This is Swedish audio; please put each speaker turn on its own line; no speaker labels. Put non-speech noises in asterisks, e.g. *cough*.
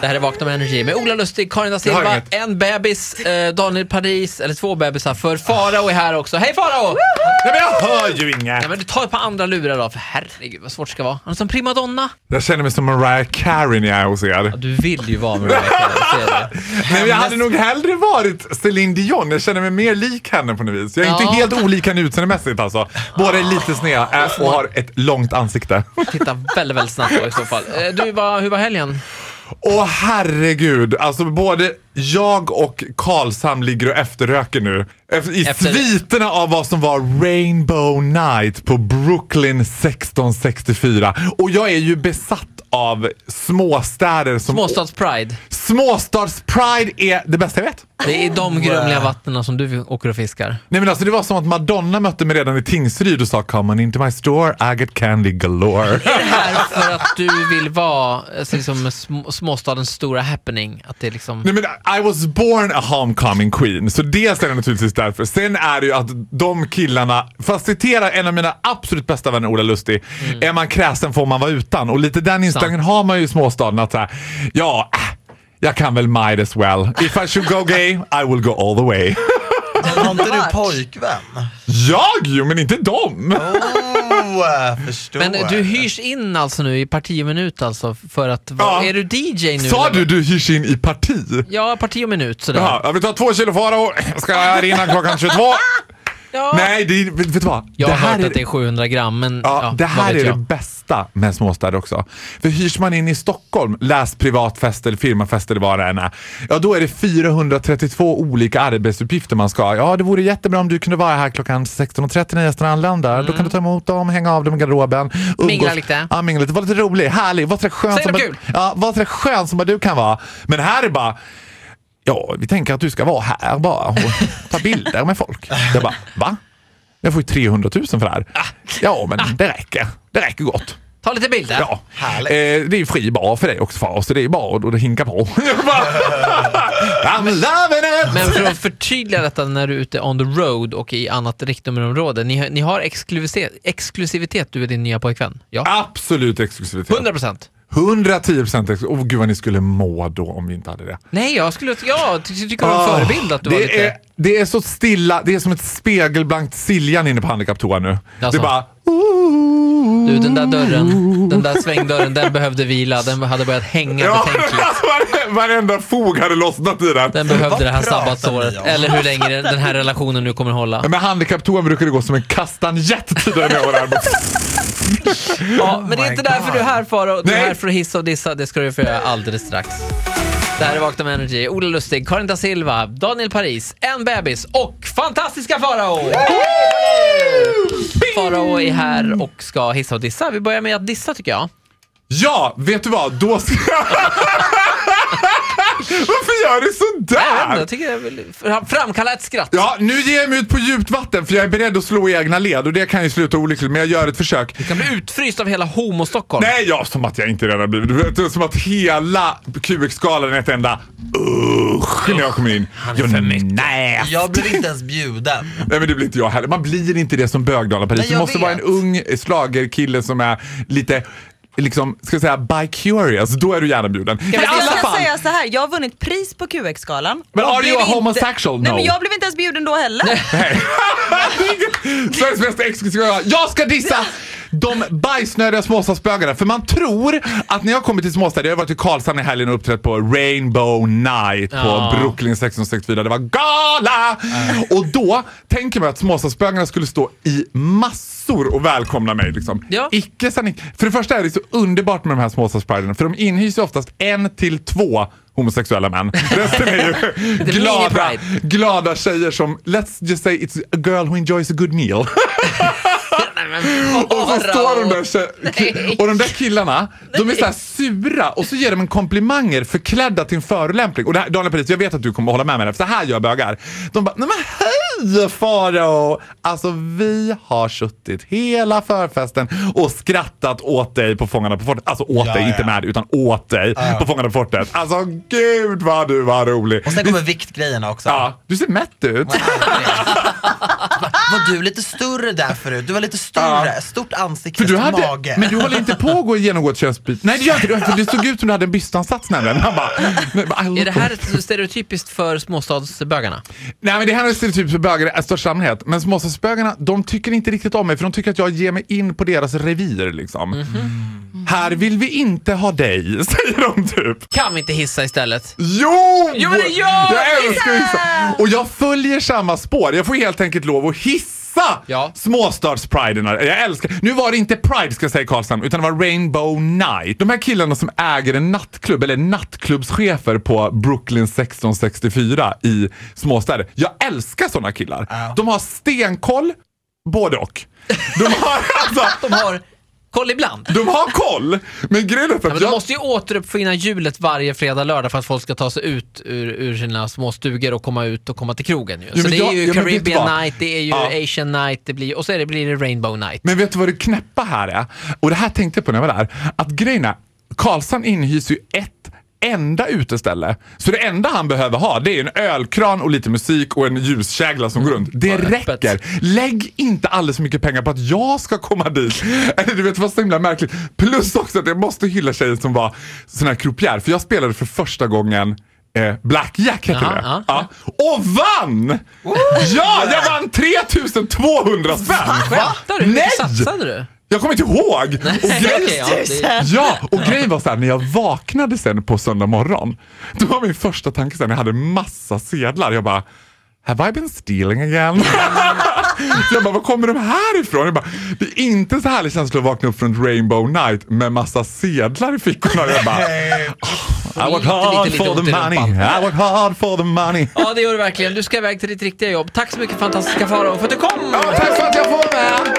Det här är Vakna med Energy med Ola Lustig, Karin da Silva, en bebis, eh, Daniel Paris, eller två bebisar, för Farao är här också. Hej Farao!
Nej, men jag hör ju
Ja,
inget!
men du tar ett par andra lurar då, för herregud vad svårt det ska vara. Han är som primadonna.
Jag känner mig som Mariah Carey när jag är hos er.
Du vill ju vara med Mariah Carey, ser jag det.
Nej, men jag hade nog hellre varit Celine Dion. Jag känner mig mer lik henne på något vis. Jag är
Ja.
inte helt olik henne utseendemässigt alltså. Båda är lite sneda eh, och har ett långt ansikte.
Titta väldigt, väldigt snabbt då i så fall. Eh, Du, vad, hur var helgen?
Åh herregud, alltså både jag och Karlshamn ligger och efterröker nu. Efter, I
Efter-
sviterna av vad som var Rainbow Night på Brooklyn 1664. Och jag är ju besatt av småstäder som
Småstads Pride.
Småstadspride är det bästa jag vet.
Det är de grumliga vattnen som du åker och fiskar.
Nej men alltså det var som att Madonna mötte mig redan i Tingsryd och sa “Come on into my store, I get candy galore”. *laughs*
Är det här för att du vill vara alltså, liksom, sm- småstadens stora happening? Att det är liksom...
Nej men I was born a homecoming queen, så dels är det naturligtvis därför. Sen är det ju att de killarna, för att citera en av mina absolut bästa vänner Ola Lustig,
Mm.
är man kräsen får man vara utan. Och lite den inställningen har man ju i småstaden att såhär, ja, äh, jag kan väl might as well. If I should go gay, I will go all the way. *laughs*
Har inte du pojkvän?
Jag ju, men inte dem!
Oh, äh, förstår.
Men du hyrs in alltså nu i parti och minut alltså för att
Ja.
Är du DJ nu?
Sa
eller?
du du hyrs in i parti?
Ja, parti och minut sådär.
Jaha, jag vill ta två kilo farao. Ska jag här innan klockan 22?
Ja.
Nej, det, är- vet vet du vad?
Jag
det
har hört
här
att det är 700 gram, men
Ja,
Mm, ja,
det
vad
här
vet
är det
jag?
bästa med småstäder också. För hyrs man in i Stockholm, läs privatfest eller firmafest eller vad det än är, ja då är det 432 olika arbetsuppgifter man ska ha. Ja, det vore jättebra om du kunde vara här klockan 16.30 när gästerna anländer. Då kan du ta emot dem, hänga av dem i garderoben.
Mm. Mingla lite.
Ja, mingla lite. Var lite rolig, härlig, var så skön
Säg
som,
något
bara-
kul.
ja, var så skön som bara du kan vara. Men här är bara Ja, vi tänker att du ska vara här bara och ta bilder med folk. Jag bara, va? Jag får ju 300 000 för det här. Ja, men det räcker. Det räcker gott.
Ta lite bilder.
Ja. Eh,
Härligt.
det är ju fri bar för dig också far, så det är bara att att hinka på. *laughs* Jag bara, I'm loving it!
Men för att förtydliga detta när du är ute on the road och i annat riktnummerområde. Ni, har- ni har exklusivitet, exklusivitet, du är din nya pojkvän? Ja.
Absolut exklusivitet.
100 procent.
110 procent exklusivitet. Åh gud vad ni skulle må då om vi inte hade det.
Nej, jag skulle ja, ty- tycker det var en
Ah,
förebild att du var
det
lite...
är, det är så stilla, det är som ett spegelblankt Siljan inne på handikapptoan nu.
Jaså.
Det är bara...
Du, den där dörren, den där svängdörren, den behövde vila. Den hade börjat hänga
Ja, *laughs*
betänkligt.
vare- varenda fog hade lossnat i den.
Den behövde
Vad
det här
pratar ni
sabbatsåret,
om?
eller hur länge den den här relationen nu kommer hålla.
Med handikapptoan brukar det gå som en kastanjett tidigare med åren.
Ja, men det är inte
my
därför
God.
du är här Farao. Du är
Nej.
här för att hissa och dissa. Det ska du få göra alldeles strax. Det här är Vakna med Energy. Ola Lustig, Karin da Silva, Daniel Paris, en bebis och fantastiska Farao! Farao är här och ska hissa och dissa. Vi börjar med att dissa tycker jag.
Ja, vet du vad? Då ska jag... *laughs* Varför gör du
Jag vet inte,
sådär?
jag tycker jag vill fram- framkalla ett skratt.
Ja, nu ger jag mig ut på djupt vatten för jag är beredd att slå i egna led och det kan ju sluta olyckligt men jag gör ett försök.
Du kan bli utfryst av hela Homo-Stockholm.
Nej, ja, som att jag inte redan har blivit. Du vet, det är Som att hela QX-skalan är ett enda usch när jag kommer in. Jag, nej.
Jag blir inte ens bjuden.
Nej men det blir inte jag heller. Man blir inte det som bögdala Paris.
Nej,
Du
jag
måste
vet.
vara en ung schlagerkille som är lite liksom, ska jag säga, bi-curious. Då är du gärna bjuden. I
Men
alla
jag kan
fall.
säga så här, jag har vunnit pris på QX-galan.
Men
Och
are you
blev
a homosexual?
Inte, nej
No.
men jag blev inte ens bjuden då heller.
*laughs* Sveriges mest exklusiva. Jag ska dissa de bajsnödiga småstadsbögarna. För man tror att när jag kommer till småstäder, jag har varit i Karlshamn i helgen och uppträtt på Rainbow Night
Ja.
på Brooklyn 1664. Det var gala! Och då tänker man att småstadsbögarna skulle stå i massor och välkomna mig. Liksom.
Ja.
Icke sanning. För det första är det så underbart med de här småstadspriderna, för de inhyser oftast en till två homosexuella män. Resten är
*laughs*
ju
är
glada,
mini-pride.
glada tjejer som, let's just say it's a girl who enjoys a good meal.
*laughs* Nej,
*laughs* Och så står de där
Nej.
tje- och de där killarna, de är så här sura och så ger de en komplimanger förklädda till en förolämpning. Och det här, Daniel Paris, jag vet att du kommer hålla med mig där, för så här gör bögar. De bara, nej men hej Farao! Alltså vi har suttit hela förfesten och skrattat åt dig på Fångarna på fortet. Alltså åt
Ja,
dig,
ja.
inte med dig, utan åt dig på Fångarna på fortet. Alltså gud vad du var rolig.
Och sen kommer viktgrejerna också.
Ja, du ser mätt ut.
Var du lite större där förut? Du var lite större. Stort ansikte,
För du
stor
hade,
mage.
Men du håller inte på att gå igenom ett könsbyte? Nej, det gör inte du. För det såg ut som du hade en bystansats nämligen. Han bara, nej, bara, I
Är
look
det
good.
här ett stereotypiskt för småstadsbögarna?
Nej, men det här är stereotyp för bögar i största allmänhet. Men småstadsbögarna, de tycker inte riktigt om mig för de tycker att jag ger mig in på deras revir liksom.
Mhm.
Här vill vi inte ha dig, *laughs* säger de typ.
Kan vi inte hissa istället?
Jo!
Jo, men det gör
Jag älskar hissa! Och jag följer samma spår. Jag får helt enkelt lov att hissa
Ja.
småstadspriden. Jag älskar. Nu var det inte Pride ska jag säga i Karlshamn, utan det var Rainbow Night. De här killarna som äger en nattklubb, eller nattklubbschefer på Brooklyn 1664 i småstäder. Jag älskar sådana killar. De har stenkoll, både och. De har, *laughs* alltså,
De har koll ibland.
de har koll, men grejen är för
Ja,
att
men de
jag...
måste ju återuppfinna hjulet varje fredag, lördag för att folk ska ta sig ut ur, ur sina små stugor och komma ut och komma till krogen. Ju.
men
Så det är
jag-
ju
ja, men vet du
Caribbean
vad?
night, det är ju
Ja.
Asian night det blir, och så är det, blir det Rainbow night.
Men vet du vad det knäppa här är? Och det här tänkte jag på när jag var där. Att grejen är, Karlsson inhyser ju ett enda uteställe. Så det enda han behöver ha det är en ölkran och lite musik och en ljuskägla som går runt. Det
bara Mm. öppet.
räcker. Lägg inte alldeles för mycket pengar på att jag ska komma dit. Eller du vet vad så himla märkligt. Plus också att jag måste hylla tjejen som var sån här croupier. För jag spelade för första gången eh, Blackjack heter
Jaha,
det.
ja.
Ja. Och vann! Ja, jag vann 3200 spänn!
Fattar du? Hur
Nej!
mycket satsade du?
Jag kommer inte ihåg! Och
Okej,
grejen,
*laughs* ja, det-
ja, och grejen var så här, när jag vaknade sen på söndag morgon, då var min första tanke sen, jag hade massa sedlar. Jag bara, have I been stealing again? *laughs* jag bara, var kommer de här ifrån? Jag bara, det är inte så härlig känsla att vakna upp från ett Rainbow Night med massa sedlar i fickorna. Jag bara, I work
Lite,
hard
lite, lite
for the
ont i
money,
rumpan.
I work hard for the money.
Ja, det gör du verkligen. Du ska iväg till ditt riktiga jobb. Tack så mycket fantastiska Farao för att du kom!
Ja, tack för att jag får vara med!